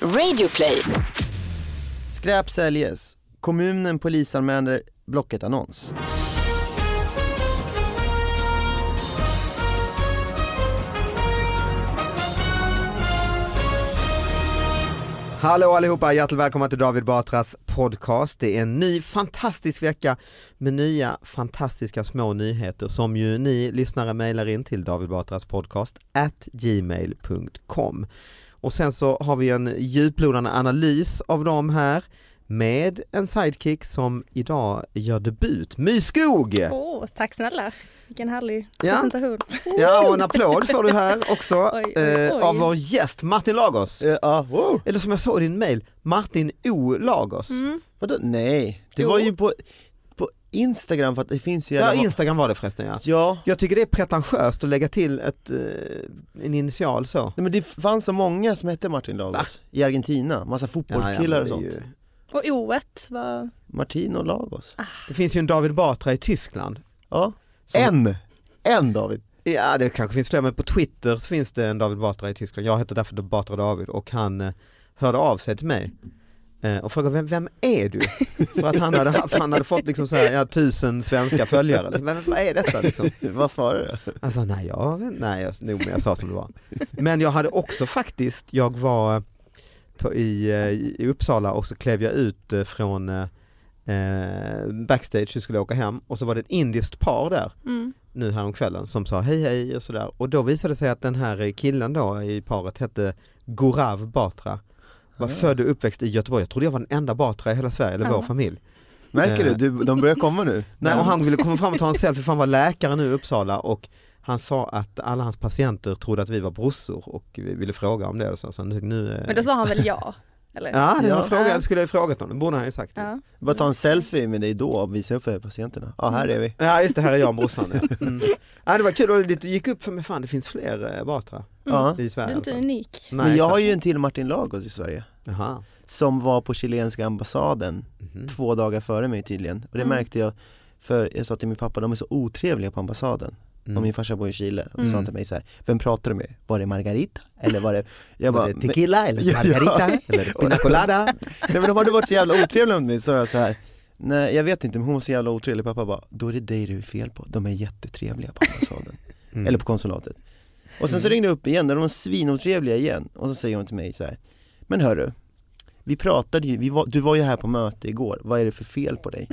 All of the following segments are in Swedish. Radioplay. Skräp säljes. Kommunen polisanmäler Blocket-annons. Hallå allihopa, hjärtligt välkomna till David Batras podcast. Det är en ny fantastisk vecka med nya fantastiska små nyheter som ju ni lyssnare mejlar in till David Batras podcast at gmail.com. Och sen så har vi en djuplodande analys av dem här med en sidekick som idag gör debut, My Skog! Åh, tack snälla. Vilken härlig Eh. Ja. presentation. Ja och en applåd får du här också Oj, oj, eh, oj. av vår gäst Martin Lagos. Eh, ah, wow. Eller som jag såg i din mejl, Martin O Lagos. Mm. Vadå? Nej, det Jo. var ju på, på Instagram för att det finns ju Ja, jävla- Instagram var det förresten ja. ja. Jag tycker det är pretentiöst att lägga till ett, eh, en initial så. Nej, men det fanns så många som hette Martin Lagos Va? i Argentina, massa fotbollskillar och Ja, ja, men det sånt. är ju- Och oet var... Martin och Lagos. Det finns ju en David Batra i Tyskland. Ja. Som- En! En David. Ja det kanske finns fler men på Twitter så finns det en David Batra i Tyskland. Jag heter därför Batra David och han eh, hörde av sig till mig eh, och frågade vem, vem är du? För att han hade, haft- han hade fått liksom så här, ja, tusen svenska följare. Liksom, Men vad är detta liksom? Vad svarar du? Alltså nej, jag, vet- nej jag, nog, men jag sa som det var. Men jag hade också faktiskt, jag var på, i, eh, i Uppsala och så klev jag ut eh, från eh, backstage, jag skulle åka hem och så var det ett indiskt par där Mm. nu häromkvällen som sa hej hej och sådär och då visade det sig att den här eh, killen då i paret hette Gorav Batra. Var Ah. född och uppväxt i Göteborg, jag trodde jag var den enda Batra i hela Sverige, eller vår Ah. familj. Märker du? Eh. du? De börjar komma nu. Nej, och han ville komma fram och ta en selfie för han var läkare nu i Uppsala och han sa att alla hans patienter trodde att vi var brorsor och vi ville fråga om det. Och så. Så nu, nu, eh, Men då sa han väl ja? Eller? ja, det var Ja. frågan, Ja. skulle jag ha frågat honom, borde han ju sagt. Ja. Ja. Bara ta en selfie med dig då och visa upp för patienterna. Ja, här är vi. ja just det, här är jag och brorsan. Ja. Mm. Ja, det var kul och det gick upp för mig, fan det finns fler eh, Batra Ja. i Sverige. Du är inte i alla fall. unik. Nej, Men jag exakt. har ju en till Martin Lagos i Sverige. Jaha. som var på chilenska ambassaden Mhm. två dagar före mig tydligen. Och det Mm. märkte jag, för jag sa till min pappa, de är så otrevliga på ambassaden. Mm. Och min farsa bor i Chile och sa Mm. till mig så här, vem pratar du med? Var det Margarita? Eller var det... Jag Var bara, det men, tequila eller Ja, ja. margarita eller pina colada? nej men de hade varit så jävla otrevliga mot mig, sa jag så här. Nej jag vet inte, men hon var så jävla otrevlig. Pappa bara, då är det dig du är fel på. De är jättetrevliga på ambassaden. Mm. Eller på konsulatet. Och sen så ringde jag upp igen, och de var svinotrevliga igen. Och så säger hon till mig så här, men hörru, vi pratade ju, vi var, du var ju här på möte igår, vad är det för fel på dig?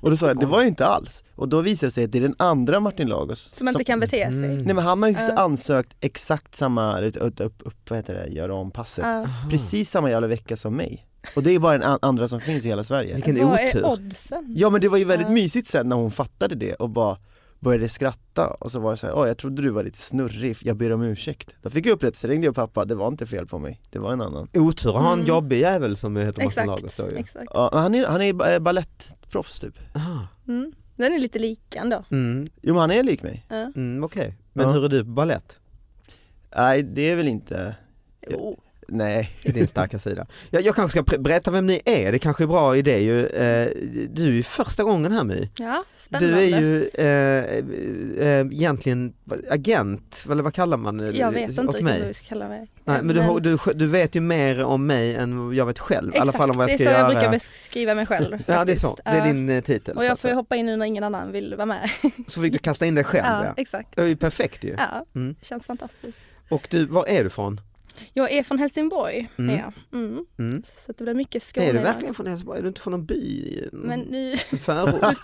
Och då sa jag, det var ju inte alls. Och då visade det sig att det är den andra Martin Lagos. Som inte kan bete sig. Mm. Nej men han har ju Ja. ansökt exakt samma, upp, upp, upp, vad heter det, göra om passet. Ja. Precis samma jävla vecka som mig. Och det är bara den an- andra som finns i hela Sverige. Vilken Vad otur. är oddsen? Ja men det var ju väldigt Ja. mysigt sen när hon fattade det och bara började skratta och så var det så här, "Åh, jag trodde du var lite snurrig, jag ber om ursäkt. Då fick jag upprättelse, ringde jag pappa, det var inte fel på mig, det var en annan. Otur att ha en Mm. jobbig jävel som heter Martin Lagos Exakt. då ju. Exakt. Ja, han är, han är eh, balettproffs typ. Ah. Mm. Den är lite lik ändå. Mm, Jo men han är lik mig. Ja. mm, Okej, men Ja. hur är du på balett? Nej det är väl inte, Jo. nej. I din starka sida. Jag, jag kanske ska pre- berätta vem ni är, det kanske är bra idé ju. Eh, du är ju första gången här My. Ja, spännande. Du är ju eh, eh, egentligen agent, eller vad kallar man jag vet inte åt riktigt vad mig? vi ska kalla mig. Nej, men du, har- du, du vet ju mer om mig än vad jag vet själv, i alla fall om vad jag ska det är så göra. jag brukar beskriva mig själv. ja det är så, faktiskt. det är Ja. din eh, titel. Och så, att jag får ju säga. hoppa in nu när ingen annan vill vara med. så fick du kasta in dig själv Ja, ja. exakt. Det är ju perfekt ju. Ja, Mm. känns fantastiskt. Och du, var är du från? Jag är från Helsingborg. Mm. Är jag. Mm. Mm. Så att det blir mycket Skåne. Är du idag. verkligen från Helsingborg? Är du inte från någon by? Men nu En förort?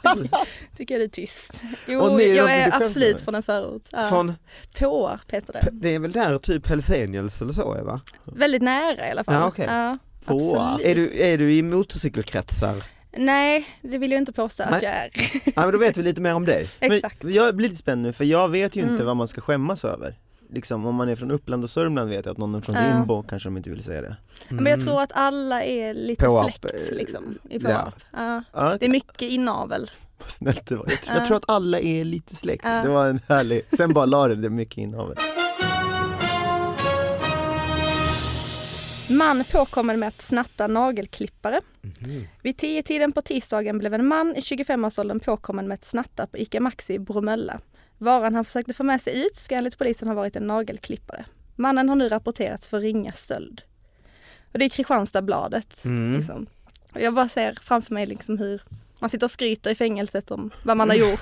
tycker jag det är tyst. Jo, Och ni, Robin, jag du är skämtar absolut med. från en förort. Ja. från, Påarp heter det. det är väl där typ Helsenius eller så är va? Väldigt nära i alla fall. Ja, okej. Ja, Påarp. absolut. Är du, är du i motorcykelkretsar? Nej, det vill jag inte påstå Nej. att jag är. Ja men då vet vi lite mer om dig. Exakt. Men jag blir lite spänd nu för jag vet ju inte Mm. vad man ska skämmas över. Liksom om man är från Uppland och Sörmland vet jag att någon är från Ja. Rimbo kanske de inte vill säga det. Men jag tror att alla är lite Påarp, släkt Mm. eh, liksom, i ja. Påarp. Ja. Ja, Det är mycket inavel. Vad snällt det var. Jag, tror- Ja. jag tror att alla är lite släkt. Ja. Det var en härlig, sen bara la det det mycket inavel. Man påkommen med att snatta nagelklippare. Mhm. Vid tio tiden på tisdagen blev en man i 25-årsåldern påkommen med att snatta på ICA Maxi i Bromölla. Varan han försökte få med sig ut ska enligt polisen ha varit en nagelklippare. Mannen har nu rapporterats för ringa stöld. Och det är Kristianstadsbladet. Mm. Liksom. Och jag bara ser framför mig liksom hur man sitter och skryter i fängelset om vad man har Mm. gjort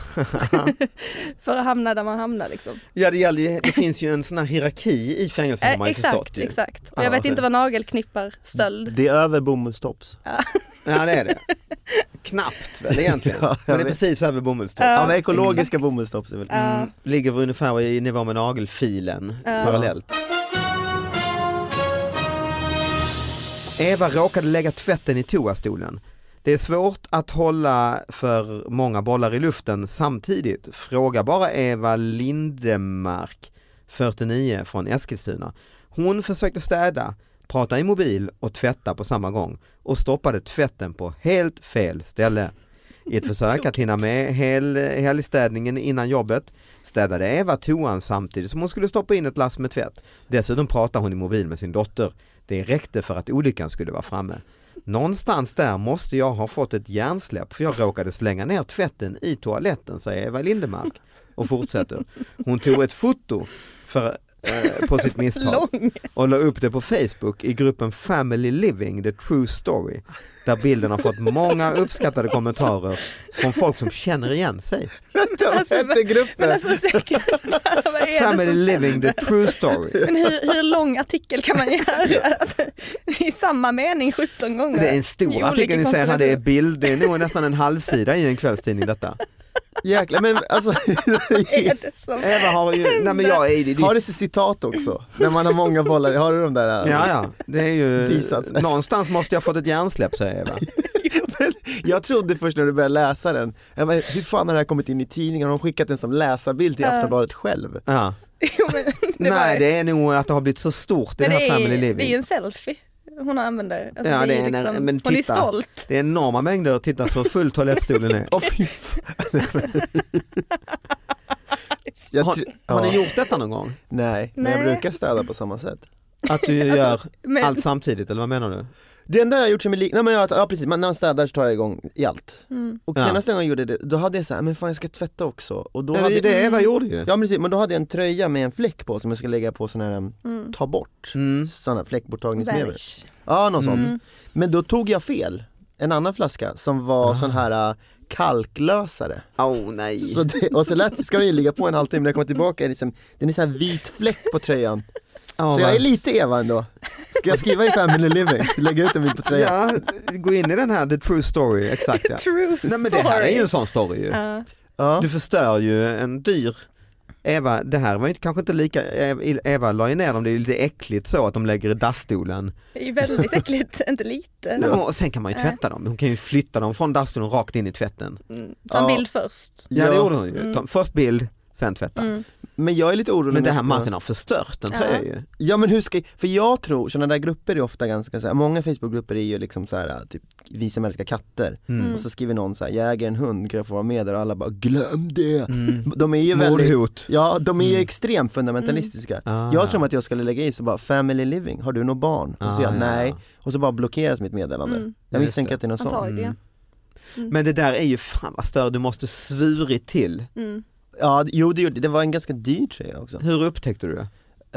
för att hamna där man hamnar. Liksom. Ja det, gäller, ju- det finns ju en sån här hierarki i fängelser har Eh, man ju förstått exakt, ju. exakt. Och Ja, jag vet okej. inte vad nagelknipparstöld Det är över bomullstops. Ja det är det. Knappt väl egentligen. Ja, jag Men det är vet. precis över bomullstopp. Ja, Ja, men ekologiska bomullstops är väl Ja. Mm, ligger ungefär i nivå med nagelfilen parallellt. Eva råkade lägga tvätten i toastolen. Det är svårt att hålla för många bollar i luften samtidigt. Fråga bara Eva Lindemark, 49 från Eskilstuna. Hon försökte städa, prata i mobil och tvätta på samma gång och stoppade tvätten på helt fel ställe. I ett försök att hinna med hel, helgstädningen innan jobbet städade Eva toan samtidigt som hon skulle stoppa in ett lass med tvätt. Dessutom pratade hon i mobil med sin dotter. Det räckte för att olyckan skulle vara framme. Någonstans där måste jag ha fått ett hjärnsläpp för jag råkade slänga ner tvätten i toaletten, säger Eva Lindemark och fortsätter. Hon tog ett foto för, eh, på sitt misstag lång. och la upp det på Facebook i gruppen Family Living the True Story där bilden har fått många uppskattade kommentarer från folk som känner igen sig. Alltså, inte Men gruppen. alltså säkert, vad är det Family som Living the händer? True Story. Men hur, hur lång artikel kan man göra? Alltså, I samma mening 17 gånger. Det är en I stor olika artikel ni ser här, det är konstellationer. bild, det är nog nästan en halvsida i en kvällstidning detta. Jäklar, men alltså, Vad är det som Eva har ju, nej men jag är, det, har du så citat också? När man har många bollar, har du de där? äh, ja ja, det är ju, Bisats. någonstans måste jag ha fått ett hjärnsläpp säger Eva. Jag trodde först när du började läsa den, jag bara, hur fan har det här kommit in i tidningen? Har de skickat den som läsarbild till Ja. Aftonbladet själv? Ja. Jo, men det var- Nej det är nog att det har blivit så stort i det men här är- Family Det är ju Living. en selfie hon använder. Alltså, Ja, det är det är ju en- liksom, men hon är titta. stolt. Det är enorma mängder, titta så full toalettstolen är. Åh fy fan. jag Har, tr- har ni ja. gjort detta någon gång? Nej, men jag Nej. brukar städa på samma sätt. Att du gör Alltså, Men, allt samtidigt eller vad menar du? Det enda jag har gjort som är lik, nej men jag, ja precis, men när man städar så tar jag igång i allt. mm, Och Ja. senaste gången jag gjorde det, då hade jag så här, men fan jag ska tvätta också. Och då Nej, hade det är det Eva gjorde ju. Ja men precis, men då hade jag en tröja med en fläck på som jag ska lägga på sån här, um, mm. ta bort, Mm. sådana fläckborttagningsmedel. Vanish. Ja något sånt. Mm. Men då tog jag fel, en annan flaska som var Ah. sån här uh, kalklösare. Oh, nej. Så det, och så lät, ska den ju ligga på en halvtimme, när jag kommer tillbaka är det liksom, den är så här vit fläck på tröjan. Ja, Så jag är vad- lite Eva ändå. Ska jag skriva i Family Living, lägga ut en bild på tröjan? Ja, gå in i den här the true story, exakt ja. True story. Nej men det här är ju en sån story ju. Ja. Ja. Du förstör ju en dyr Eva, det här var ju kanske inte lika, Eva- Eva la ju ner dem, det är ju lite äckligt så att de lägger i dasstolen. det är ju väldigt äckligt, inte lite. Nej, men, och sen kan man ju tvätta dem, hon kan ju flytta dem från dasstolen rakt in i tvätten. Mm. Ta en Ja. bild först. Ja, det Ja. gjorde hon ju, Ta- först bild, sen tvätta. Mm. Men jag är lite orolig Men det med- här Martin har förstört den Ja. tror jag ju. Ja men hur ska, för jag tror, sådana där grupper är ofta ganska såhär, många Facebookgrupper är ju liksom såhär, typ vi som älskar katter Mm. och så skriver någon såhär, jag äger en hund, kan jag få vara med där? Och alla bara, glöm det! Mm. De är ju väldigt, Mordhot. ja de är ju Mm. extremt fundamentalistiska. Ah. Jag tror att jag skulle lägga i så bara, family living, har du något barn? Och så säger jag Ah, ja. nej, och så bara blockeras mitt meddelande. Mm. Jag Just misstänker det. att det är något sånt. Antagligen. Men det där är ju, fan vad stör, du måste svurit till. Mm. Ja, d- jo det gjorde det, var en ganska dyr tröja också. Hur upptäckte du det?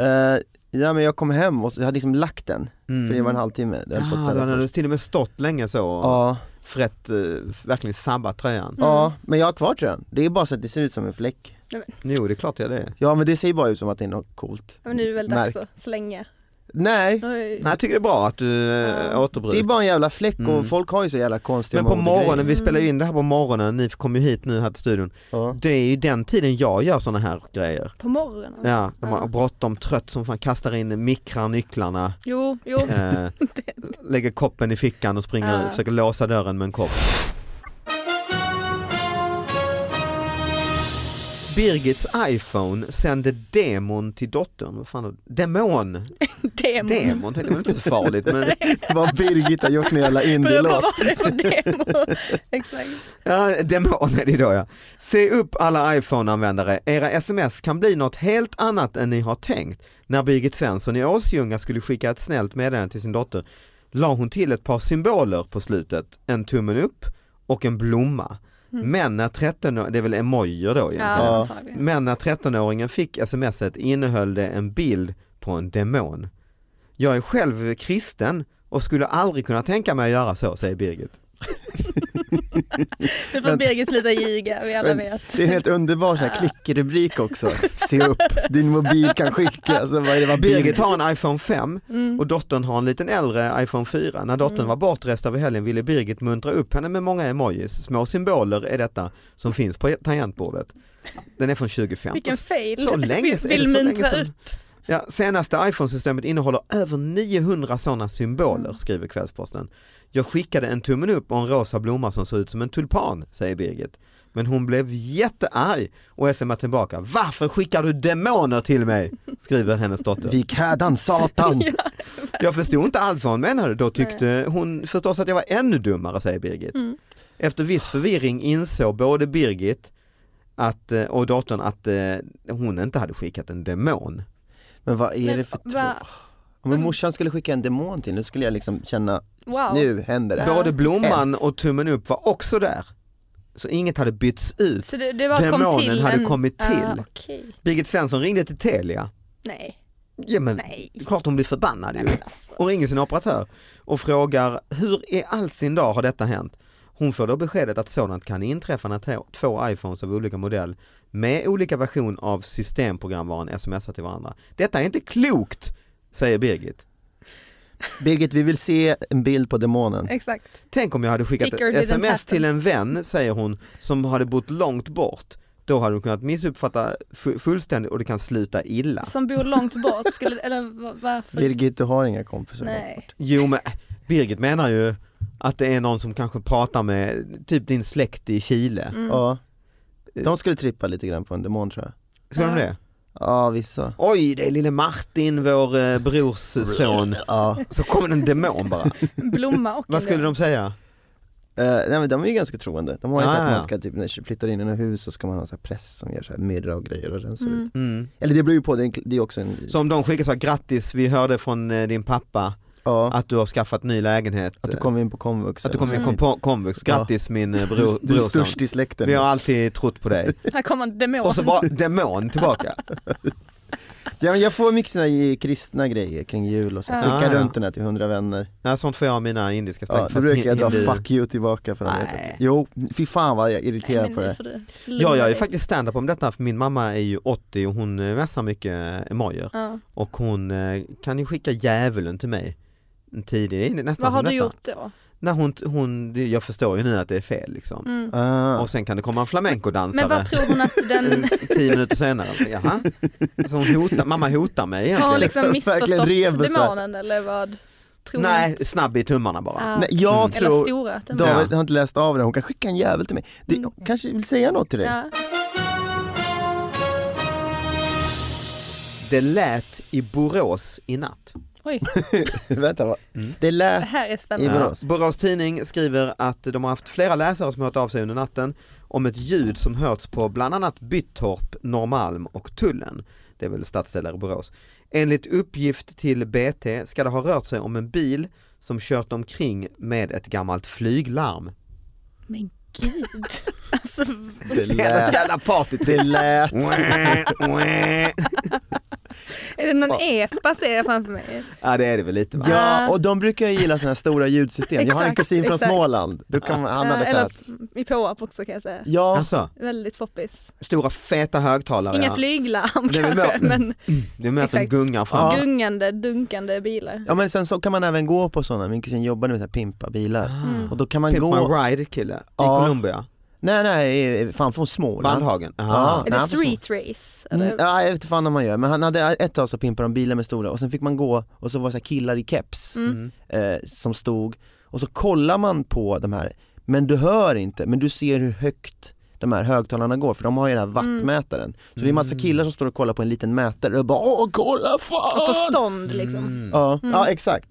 Eh, ja men jag kom hem och så, jag hade liksom lagt den, Mm. för det var en halvtimme. Den höll på att Ah, tära då hade du först. till och med stått länge så och Ja. frätt, eh, verkligen sabbat tröjan. Ja, men jag har kvar tröjan. Det är bara så att det ser ut som en fläck. Jo det är klart jag det är. Ja men det ser bara ut som att det är något coolt. Men nu är det väl dags Märk. att slänga. Nej, Oj. Nej, jag tycker det är bra att du Ja. äh, det återbrukar. är bara en jävla fläck och Mm. folk har ju så jävla konstiga Men på modegrejer. morgonen, vi spelar ju in det Mm. här på morgonen, ni kom ju hit nu här till studion. Ja. Det är ju den tiden jag gör sådana här grejer. På morgonen. Ja, när man har bråttom, trött som fan, kastar in, mikrar nycklarna, Jo, jo. eh, lägger koppen i fickan och springer Ja. och försöker låsa dörren med en kopp. Birgits iPhone sände demon till dottern, vad fan, demon, Demon. demon tänkte jag, det var inte så farligt men Vad Birgit har gjort med jävla Beror på indielåt. vad det är för demo. Exakt. Ja, demon är det då ja. Se upp alla iPhone-användare, era sms kan bli något helt annat än ni har tänkt. När Birgit Svensson i Åsjunga skulle skicka ett snällt meddelande till sin dotter la hon till ett par symboler på slutet, en tummen upp och en blomma. Men när 13 det är väl emojier då egentligen. Mm. Ja, Ja. antagligen. Men när 13-åringen fick smset innehöll det en bild på en demon. Jag är själv kristen och skulle aldrig kunna tänka mig att göra så, säger Birgit. Nu får Birgit sluta ljuga, vi alla Men- vet. Det är en helt underbar sån här klickrubrik också. Se upp, din mobil kan skicka. Alltså, vad är det, vad Birgit har en iPhone 5 och dottern har en liten äldre iPhone 4. När dottern var bortrest över helgen ville Birgit muntra upp henne med många emojis. Små symboler är detta som finns på tangentbordet. Den är från 2015. Vilken fail. Så länge sedan. är Vill det så länge muntra sedan? upp. Ja, senaste iPhone-systemet innehåller över 900 sådana Mm. symboler, skriver Kvällsposten. Jag skickade en tummen upp och en rosa blomma som såg ut som en tulpan, säger Birgit. Men hon blev jättearg och smsade tillbaka. Varför skickar du demoner till mig? Skriver hennes dotter. Vik hädan, satan. Jag förstod inte alls vad hon menade. Då tyckte hon förstås att jag var ännu dummare, säger Birgit. Mm. Efter viss förvirring insåg både Birgit att, eh, och dottern att eh, hon inte hade skickat en demon. Men vad är Men det för va- tro- Om morsan skulle skicka en demon till nu skulle jag liksom känna, Wow. nu händer det. Både blomman och tummen upp var också där. Så inget hade bytts ut. Så det, det var Demonen kom till hade en... kommit till. Ah, okej. Birgit Svensson ringde till Telia. Nej, Ja, men, nej. det är klart hon blir förbannad ju. Alltså. Och ringer sin operatör och frågar hur i all sin dag har detta hänt? Hon får då beskedet att sådant kan inträffa när t- två iPhones av olika modell med olika version av systemprogramvaran smsar till varandra. Detta är inte klokt, säger Birgit. Birgit, vi vill se en bild på demonen. Mm. Exakt. Tänk om jag hade skickat Thicker ett didn't sms happen. till en vän, säger hon, som hade bott långt bort. Då hade hon kunnat missuppfatta fu- fullständigt och det kan sluta illa. Som bor långt bort, skulle, eller va- varför? Birgit, du har inga kompisar. Nej. Jo men äh, Birgit menar ju att det är någon som kanske pratar med typ din släkt i Chile. Ja. De skulle trippa lite grann på en demon tror jag. Ska de Ja. det? Ja, vissa. Oj, det är lille Martin, vår eh, brors son. Ja. Så kommer en demon bara. En blomma och Vad skulle de säga? Eh, nej men de är ju ganska troende. De har ju Ah, så att ja. man ska typ, när man flyttar in i något hus så ska man ha så här press som gör så här myrra och grejer och rensar ut. Mm. Eller det beror ju på, det är en- det är också en... Så om de skickar så här, grattis, vi hörde från eh, din pappa ja, att du har skaffat ny lägenhet. att du kommer in på komvux. att du kommer eller så. in på komvux, grattis min eh, bror, Du, du är brorson. störst i släkten. Vi har alltid trott på dig. Här kommer en demon. Och så bara demon tillbaka. ja, men jag får mycket såna här kristna grejer kring jul och så. Ja. Skicka Ah, ja. runt den här till hundra vänner. Nej, sånt får jag av mina indiska släkt. Ja, då fast brukar jag dra hindu. 'fuck you' tillbaka för den Nej. här. Jo, fy fan vad jag irriterar på det. E. Ja, jag är faktiskt stand-up om detta för min mamma är ju 80 och hon eh, mässar mycket eh, emojer. Ja. Och hon eh, kan ju skicka djävulen till mig. En tidig, nästan Vad som har detta. du gjort då? När hon, hon, det- jag förstår ju nu att det är fel liksom. Mm. Ah. Och sen kan det komma en Men flamencodansare vad tror hon att den tio minuter senare. Jaha. Alltså hon hotar, mamma hotar mig har hon egentligen. liksom missförstått Verkligen rebus här. demonen eller vad? Tror hon? Nej, snabb i tummarna bara. Ah. Nej, jag Mm. Eller tror, stora demonen. David har inte läst av det, hon kan skicka en jävel till mig. Det, Mm. kanske vill säga något till dig. Ja. Det lät i Borås i natt. Oj, Vänta, vad? Mm. Det det lät här är I spännande. Borås. Borås Tidning skriver att de har haft flera läsare som hört av sig under natten om ett ljud som hörts på bland annat Byttorp, Norrmalm och Tullen. Det är väl stadsdelar i Borås. Enligt uppgift till BT ska det ha rört sig om en bil som kört omkring med ett gammalt flyglarm. Men gud. Alltså, Det lät, jävla partyt! det lät. är det någon epa ser jag framför mig? ja det är det väl lite va? Ja, och de brukar ju gilla sådana här stora ljudsystem. Jag har en Exakt, kusin från exakt. Småland, Då kan man, han hade Eh, så här, eller att- i Påarp också kan jag säga. ja, Alltså, Väldigt poppis. stora feta högtalare. Inga ja. flyglarm Det är väl kanske bra. men Det är mer att de Exakt. gungar fram. gungande, dunkande bilar. ja men sen så kan man även gå på sådana, min kusin jobbade med så här pimpa bilar. Ah. Mm. Och då kan man Pimp gå, My Ride kille Ja. i Colombia, nej nej, eh, fan från Småland. Bandhagen. Ja. Aha. Är nej, det street race? Mm, Eller? Ja, jag vet inte fan om man gör, men han hade ett tag så pimpade de bilar med stora och sen fick man gå och så var det så här killar i keps Mm. eh, som stod och så kollar man på de här, men du hör inte, men du ser hur högt de här högtalarna går för de har ju den här wattmätaren. Så det är massa Mm. killar som står och kollar på en liten mätare och bara åh kolla Och fan! Mm. förstånd liksom. Ja, ja exakt.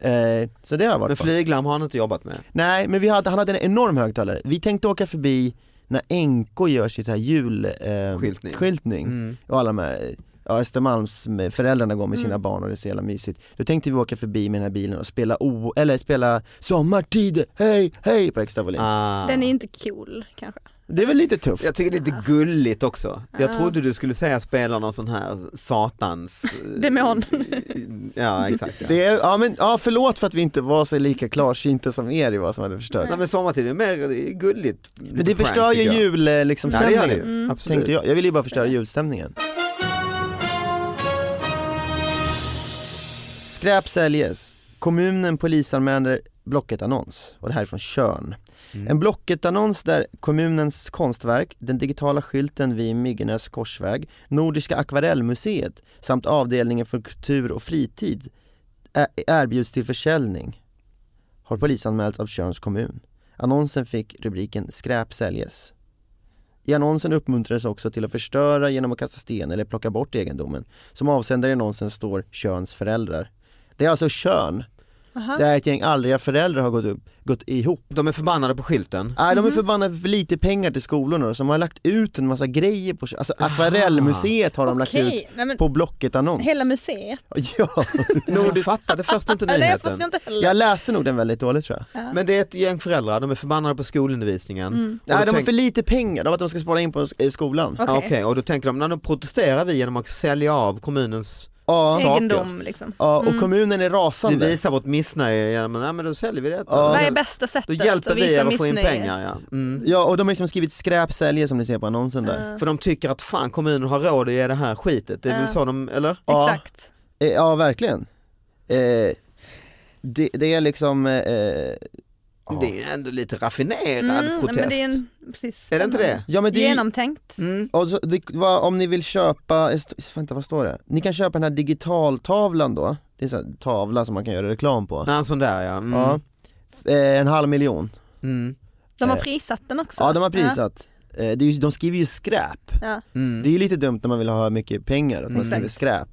Eh, så det har jag Men varit på. flyglarm har han inte jobbat med. Nej men vi hade, han hade en enorm högtalare, vi tänkte åka förbi när NK gör sitt här julskyltning Skyltning. eh, Mm. skyltning och alla de här ja, Östermalms med- föräldrarna går med sina Mm. barn och det är så jävla mysigt. Då tänkte vi åka förbi med den här bilen och spela, o, eller spela sommartid, hej, hej på extra volym. Ah. Den är inte cool kanske. Det är väl lite tufft? Jag tycker det är lite gulligt också. Jag Ah. trodde du skulle säga spela någon sån här satans... eh, Demon. ja exakt. Ja. Det är, ja, men, ja, förlåt för att vi inte var så lika klarsynta som er i vad som hade förstört. Nej men sommartid är mer gulligt. Men det förstör ju julstämningen, liksom, Ja, det gör det ju. stämningen, Mm. Absolut. tänkte jag. Jag ville ju bara förstöra julstämningen. Skräp säljes. Kommunen polisanmäler Blocket-annons. Och det här är från Tjörn. Mm. Mm. En Blocket-annons där kommunens konstverk, den digitala skylten vid Myggenäs korsväg, Nordiska akvarellmuseet samt avdelningen för kultur och fritid ä- erbjuds till försäljning har polisanmälts av Tjörns kommun. Annonsen fick rubriken Skräp säljes. I annonsen uppmuntrades också till att förstöra genom att kasta sten eller plocka bort egendomen. Som avsändare i annonsen står Tjörns föräldrar. Det är alltså Tjörn, Aha. där ett gäng aldriga föräldrar har gått, upp, gått ihop. De är förbannade på skylten. Nej, de är förbannade för lite pengar till skolorna då, som har lagt ut en massa grejer på Alltså akvarellmuseet har de lagt ut Okej, nej men på Blocket-annons. hela museet. Ja, Jag fattade först inte Nej, jag nyheten. förstår inte heller. jag läste nog den väldigt dåligt tror jag. Men det är ett gäng föräldrar, de är förbannade på skolundervisningen. Och då Nej, de har tänk- för lite pengar, de har att de ska spara in på sk- i skolan. Mm. Okej. Ja, Okej, och då tänker de, när de protesterar vi genom att sälja av kommunens, Ja, saker. Egendom liksom. ja och kommunen är vi rasande. visar vårt missnöje genom, nej men då säljer vi det. Ja, Vad är men- bästa Då sättet hjälper att vi visa er att få in missnöje? pengar. Ja. Mm. Ja, och de har liksom skrivit skräp säljer som ni ser på annonsen där. För de tycker att fan kommunen har råd att ge det här skitet, det är väl Ja. så de, eller? Ja. Exakt. Eh, Ja, verkligen. Eh, det, det är liksom, eh, Ja. Det är ändå lite raffinerad Mm, nej, protest. men det är, en, precis, Är det inte spännande. det? ja men det är, Genomtänkt. Mm. och så, det, vad, om ni vill köpa, eh, st- vänta vad står det? Ni kan köpa den här digitaltavlan då, det är en sån här tavla som man kan göra reklam på. Ja, en sån där ja. Mm. Ja. F- eh, en halv miljon. Mm. De har Eh, prisat den också. Ja, de har prisat. Eh, det är, ju- de skriver ju skräp. Ja. Mm. Det är ju lite dumt när man vill ha mycket pengar att man Mm. skriver skräp.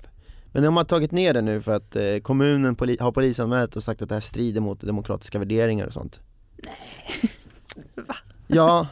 Men de har tagit ner det nu för att eh, kommunen poli- har polisanmält och sagt att det här strider mot demokratiska värderingar och sånt. Nej. Ja,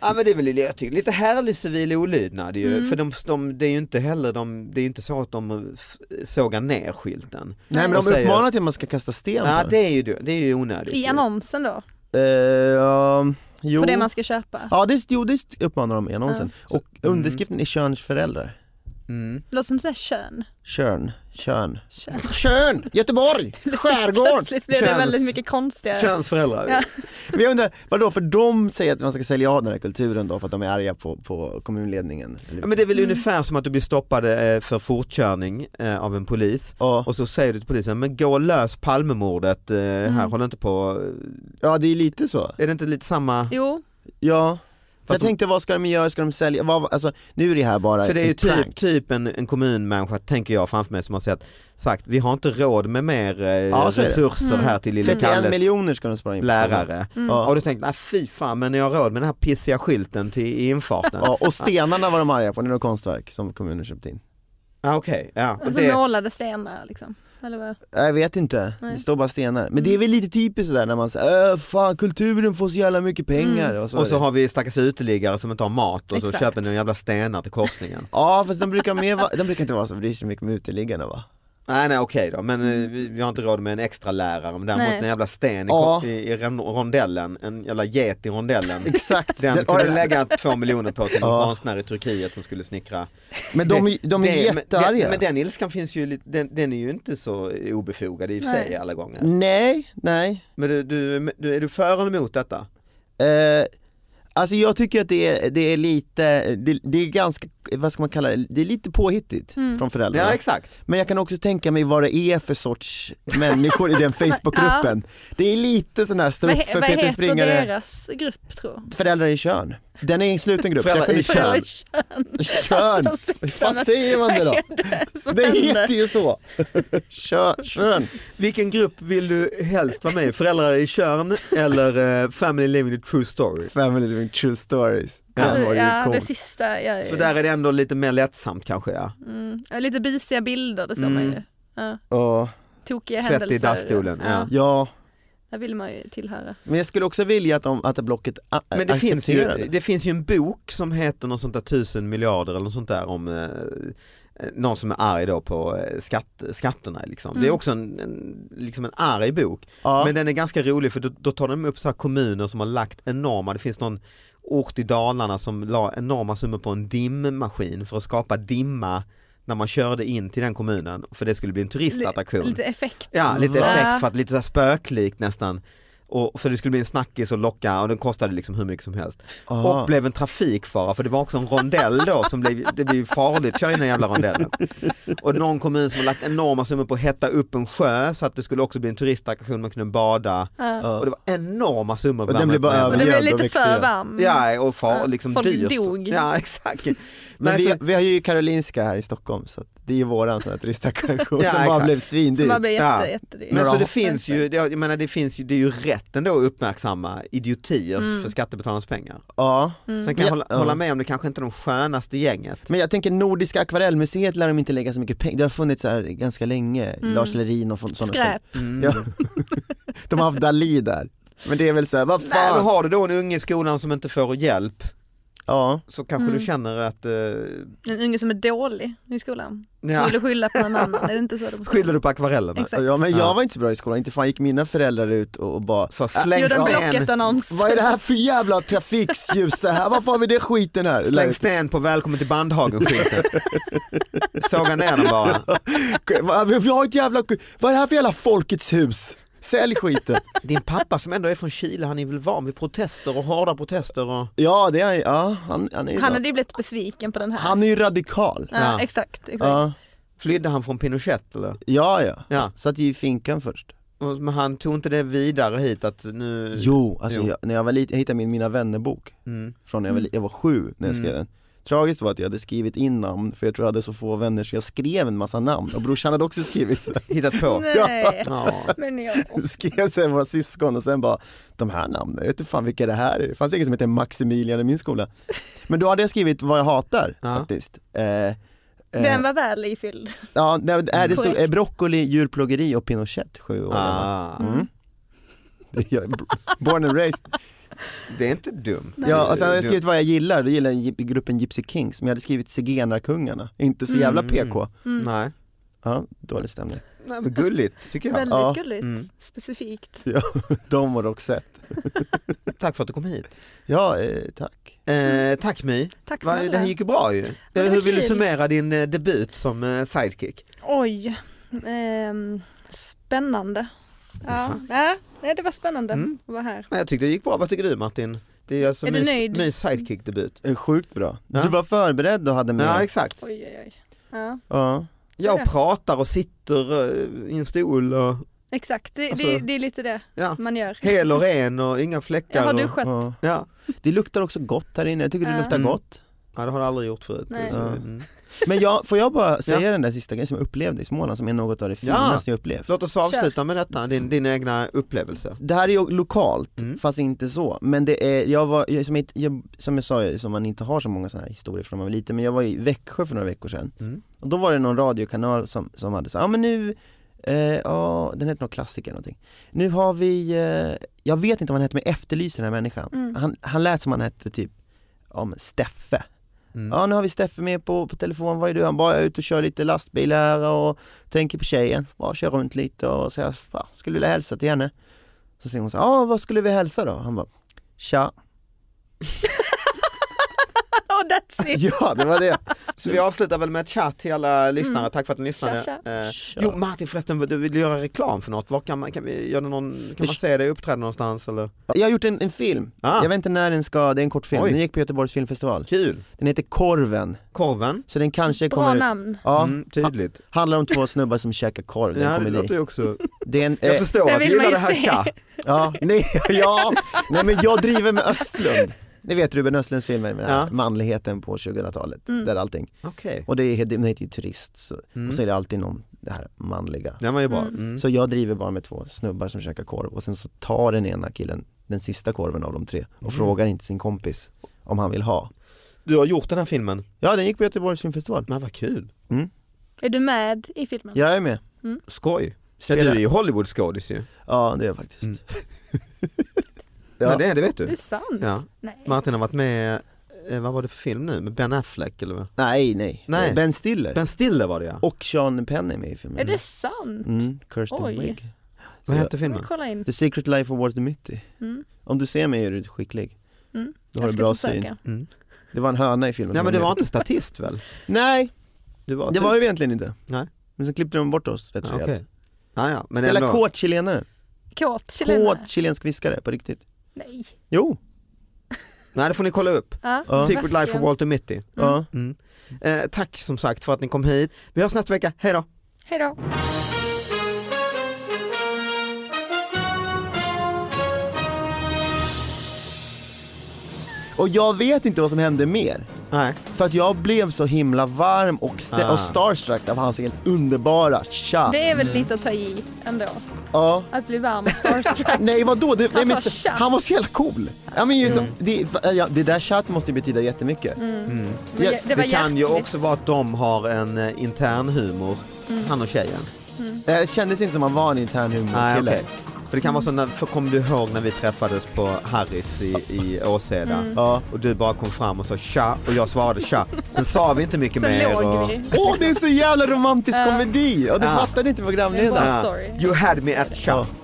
Ja men det är väl jag tycker, lite härlig civil olydnad ju. Mm. För de, de, det är ju inte heller de, det är ju inte så att de f- sågar ner skylten. nej men Och de säger- uppmanar till att man ska kasta sten Ja på det är ju, det det är ju onödigt. I ju. annonsen då, den. Eh, ja, jo. på det man ska köpa. Ja det, jo, det uppmanar de i annonsen. Och Mm. underskriften är Tjörns föräldrar. Mm. Låter som sådär kön. Tjörn, Tjörn. kön. Tjörn, Göteborg, skärgård. Plötsligt blev det Tjörns. väldigt mycket konstigare. Könsföräldrar. Ja. Men jag undrar, vadå för de säger att man ska sälja av den här kulturen då för att de är arga på, på kommunledningen? Eller- Ja, men det är väl Mm. ungefär som att du blir stoppad eh, för fortkörning eh, av en polis Ja, och så säger du till polisen, men gå och lös Palmemordet eh, Mm. här, håll inte på. Eh, ja det är lite så. Är det inte lite samma? Jo, Ja. För jag de- tänkte vad ska de göra, ska de sälja, vad, alltså, nu är det här bara För det är ju ett prank. typ, typ en, en kommunmänniska, tänker jag framför mig, som har sagt, sagt vi har inte råd med mer eh, så är det. resurser här till lilla 31 Kalles miljoner Mm. ska de spara in på skolan. lärare. Ja. Och då tänkte jag, "Nej, fy fan, men jag har råd med den här pissiga skylten till i infarten. Ja, och stenarna var de arga på, det är något konstverk som kommunen köpt in. ah, okej, ja. Och alltså det, målade stenar liksom. Eller vad? Jag vet inte, det står bara stenar. Men Mm. det är väl lite typiskt sådär när man säger äh, fan kulturen får så jävla mycket pengar. Mm. Och så och så har... har vi stackars uteliggare som inte har mat och så Exakt. köper ni en jävla stenar till korsningen. Ja fast de brukar, mer va... de brukar inte vara så, det är så mycket med uteliggarna va? Nej nej okej då, men Mm. eh, vi, vi har inte råd med en extra lärare men däremot Nej. en jävla sten i, Ja. i, i ron- rondellen, en jävla get i rondellen. Exakt. Den Den- kunde och- du lägga två miljoner på till en Ja. konstnär i Turkiet som skulle snickra. Men de, de är det- men- jättearga. Den, men den ilskan finns ju, lite- den, den är ju inte så obefogad i och för sig alla gånger. Nej, nej. Men du, du, du, är du för eller emot detta? Eh, alltså jag tycker att det är, det är lite, det, det är ganska, vad ska man kalla det, det är lite påhittigt Mm. från Ja, föräldrarna. exakt. men jag kan också tänka mig vad det är för sorts människor i den Facebookgruppen. Det är lite sån här stå Vad, upp he- för vad Peter heter Springare, deras grupp tror föräldrar i kön. Den är en sluten grupp. så jag Föräldrar i kommer- Kön. Kön. Kön! Alltså, Vad sitta fan med- säger man det då? som Det händer? heter ju så. Kön, kön. Vilken grupp vill du helst vara med i? Föräldrar i Tjörn eller eh, Family Living the True Story? Family living true stories. Den Alltså, var ju ja, cool. det sista gör För ju. där är det ändå lite mer lättsamt kanske ja. Mm. Ja, Lite busiga bilder, det såg Mm. man ju. Ja. Ja. Tokiga Tvätt i händelser. dassstolen, ja. ja, Där vill man ju tillhöra. Men jag skulle också vilja att, de, att Blocket a- Men det finns, accepterar ju, det finns ju en bok som heter något sånt där tusen miljarder eller något sånt där om eh, någon som är arg då på eh, skatt, skatterna. Liksom. Det är också en, en, liksom en arg bok. Ja. Men den är ganska rolig för då, då tar de upp så här kommuner som har lagt enorma, det finns någon ort i Dalarna som la enorma summor på en dimmaskin för att skapa dimma när man körde in till den kommunen för det skulle bli en turistattraktion. Lite effekt. Ja, lite Va? effekt för att lite så här spöklikt nästan. Och, för det skulle bli en snackis och locka och den kostade liksom hur mycket som helst. Aha. Och blev en trafikfara för det var också en rondell då som blev, det blev ju farligt att köra in i den jävla rondellen. Och någon kommun som har lagt enorma summor på att hetta upp en sjö så att det skulle också bli en turistattraktion man kunde bada. Ja. Och det var enorma summor. Ah. Och den blandat blev bara med- över- Och det blev Jävla lite växter, för ja. varm. Ja, och far, Ja, liksom folk dyrt. dog. Ja, exakt. Men alltså- Nej, vi, så- vi har ju Karolinska här i Stockholm så att det är ju våran sån här turistattraktion Ja, som bara exakt. blev Som svindyr. bara blir jätte, Ja. jättedyr. Men så Några det finns ju, det, jag menar det finns ju, det är ju rätt ändå att uppmärksamma idiotier Mm. för skattebetalarnas pengar. Ja. Sen kan jag Ja, hålla, ja. hålla med om det kanske inte är de skönaste gänget. Men jag tänker Nordiska akvarellmuseet lär de inte lägga så mycket pengar, det har funnits så här ganska länge, Mm. Lars Lerin och sådana Skräp. Mm. Ja. De har haft Dalí där. Men det är väl så här, vad Nej, men fan. har du då en unge i skolan som inte får hjälp Ja, så kanske Mm. du känner att eh, En unge som är dålig i skolan. Som ja, vill skylla på någon annan. Är det inte så de skyller du på akvarellerna? Exakt. ja men jag Ja. var inte så bra i skolan, inte fan gick mina föräldrar ut och, och bara Så Gjorde släng en sten, Blocket-annons. Vad är det här för jävla trafikljus så här? Varför har vi det skiten här? släng sten på välkommen till Bandhagen-skylten. Såga ner den bara. Vad- Vi har ett jävla, vad är det här för jävla folkets hus? Sälj skiten. Din pappa som ändå är från Chile, han är väl van vid protester och hårda protester och Ja, det är ja, han, han är ju Han han, hade ju blivit besviken på den här. han är ju radikal. ja, Ja. Exakt. exakt. Ja, flydde han från Pinochet eller? ja, ja. Ja. Satt ju i finkan först. Och- Men han tog inte det vidare hit att nu... Jo, alltså Jo. Jag, när jag var liten, jag hittade min Mina vännerbok Mm. från när jag var, li- jag var sju när jag skrev den. Tragiskt var att jag hade skrivit in namn för jag tror jag hade så få vänner så jag skrev en massa namn och brorsan hade också skrivit så. Hittat på. Nej, Ja. men jag. skrev sen våra syskon och sen bara, de här namnen, jag vet inte fan vilka det här är. Det fanns ingen som hette Maximilian i min skola. Men då hade jag skrivit vad jag hatar Ja. faktiskt. Eh, eh, Den var väl ifylld. ja, nej, nej, det stod Korrekt. eh, broccoli, djurplågeri och Pinochet sju år gammal. Ah. mm. Jag är Born and raised. Det är inte dumt. Ja, och sen hade jag skrivit vad jag gillar, då gillar jag gi- gruppen Gypsy Kings, men jag hade skrivit Zigenarkungarna, inte så jävla Mm. PK. Mm. Nej. Ja, dålig stämning. Nej, men gulligt tycker jag. Väldigt Ja. gulligt. Mm. Specifikt. De och Roxette. Tack för att du kom hit. Ja, eh, tack. Eh, tack My. Tack Va, snälla. det här gick ju bra ju. Eh, det var Hur vill du kul. summera din eh, debut som eh, sidekick? Oj. Ehm, spännande. Ja. Jaha. Nej, nej, det var spännande Mm. att vara här. Nej, jag tyckte det gick bra. Vad tycker du Martin? Det är alltså Är du My, nöjd? my sidekick-debut. Eh, Sjukt bra. Ja. Du var förberedd och hade med. Ja exakt. Oj, oj, oj. Ja. Ja. Jag Ja. pratar och sitter eh, i en stol och Exakt, det, Alltså- det, det är lite det ja, man gör. hel och ren och inga Ja, fläckar. har Mm. du och, skött? Ja. ja. Det luktar också gott här inne, jag tycker det Ja. luktar Mm. gott. ja, det har du aldrig gjort förut. Nej. Så, Ja. mm. Men jag, får jag bara säga den där sista grejen som jag upplevde i Småland som är något av det Ja. finaste jag upplevt. Låt oss avsluta med detta, din, din egna upplevelse. Det här är ju lokalt, Mm. fast inte så. Men det är, jag var, jag, som, jag, jag, som jag sa, som man inte har så många sådana här historier från när man var liten, men jag var i Växjö för några veckor sedan. Mm. Och då var det någon radiokanal som, som hade så ja ah, men nu, eh, ja, den hette någon klassiker någonting. Nu har vi, eh, jag vet inte vad han hette men jag efterlyser den här människan. Mm. Han, han lät som han hette typ, ja men Steffe. Mm. Ja nu har vi Steffe med på, på telefon, vad är du? Han bara, jag är ute och kör lite lastbil här och tänker på tjejen. Bara kör runt lite och säger, "Fan, skulle vilja hälsa till henne. Så säger hon så här, ja vad skulle vi hälsa då? Han bara, tja. Oh, that's it! Ja det var det. Så vi avslutar väl med ett tja till Mm. alla lyssnare, tack för att ni lyssnade. Tja, Eh, Tja. jo Martin förresten, du vill göra reklam för något, Var kan man, kan vi, gör det någon, kan man se dig uppträda någonstans eller? Jag har gjort en, en film, Ah. jag vet inte när den ska, det är en kortfilm, Oj. den gick på Göteborgs filmfestival. Kul, Den heter Korven, korven, så den kanske Bra kommer ut. namn. Ja, mm, tydligt. handlar om två snubbar som käkar korv, det är Ja, en det låter komedi. ju också. Det är en, Jag eh, förstår det att du vill man gillar ju det se. här tja. ja, nej, ja, nej men jag driver med Östlund. Ni vet Ruben Östlunds filmer med den här Ja. manligheten på 2000-talet, där allting, Okej, och det är, den heter ju turist, så, Mm. och så är det alltid någon, det här manliga. den var ju bra. Mm. Så jag driver bara med två snubbar som käkar korv och sen så tar den ena killen den sista korven av de tre och Mm. frågar inte sin kompis om han vill ha. Du har gjort den här filmen, Ja den gick på Göteborgs filmfestival. men vad kul, Mm. Är du med i filmen? Jag är med. skoj. Ja, Spelar- du är ju Hollywoodskådis ju. Ja det är jag faktiskt. Mm. Ja. Ja. det, det vet Det du. är sant. Ja. Nej. Martin har varit med, eh, vad var det för film nu, med Ben Affleck eller vad? Nej, nej. Nej. Ben Stiller Ben Stiller var det ja. och Sean Penn är med i filmen. Är det sant? Mm, Kirsten Oj. Wig. Vad Ja. hette Jag filmen? vill kolla in. The Secret Life of Walter Mitty. Mm. Om du ser mig är du skicklig. Mm. Du jag har en ska bra försöka. syn. Mm. Det var en höna i filmen. Nej som men du med. var inte statist väl? Nej, Du var det var ju egentligen inte. Nej. Men sen klippte de bort oss rätt Ja, rejält. okej. Ja, ja, men Spela ändå. kåt chilenare. Kåt chilenare. Mm. Kåt chilensk fiskare på riktigt. Nej. Jo, Nej det får ni kolla upp. Ja, Ja. Secret Life of verkligen. Walter Mitty. ja. Mm. Eh, tack som sagt för att ni kom hit. Vi hörs nästa vecka, hejdå! Hej då! Och jag vet inte vad som hände mer. Nej. För att jag blev så himla varm och, st- Ah. och starstruck av hans helt underbara tja. Det är väl lite att ta i ändå. Ja. Att bli varm och starstruck. Nej vadå? Det, nej, Han men, sa tja. han var så jävla cool. Ja, men, ju som- Mm. det, äh, ja, det där tjat måste ju betyda jättemycket. Men Ja, jag- Det, var kan ju hjärtligt. också vara att de har en eh, intern humor, Mm. han och tjejen. Det kändes inte som han var en intern Nej, humorkille. okej. För det kan vara så, när, för kommer du ihåg när vi träffades på Harris i, i Åseda? Mm. Ja. Och du bara kom fram och sa tja och jag svarade tja. Sen sa vi inte mycket Sen mer. låg och... vi. Åh det är så jävla romantisk komedi! Och det Ja. fattade inte Det är en programledaren. bra story. You had me at tja. Ja.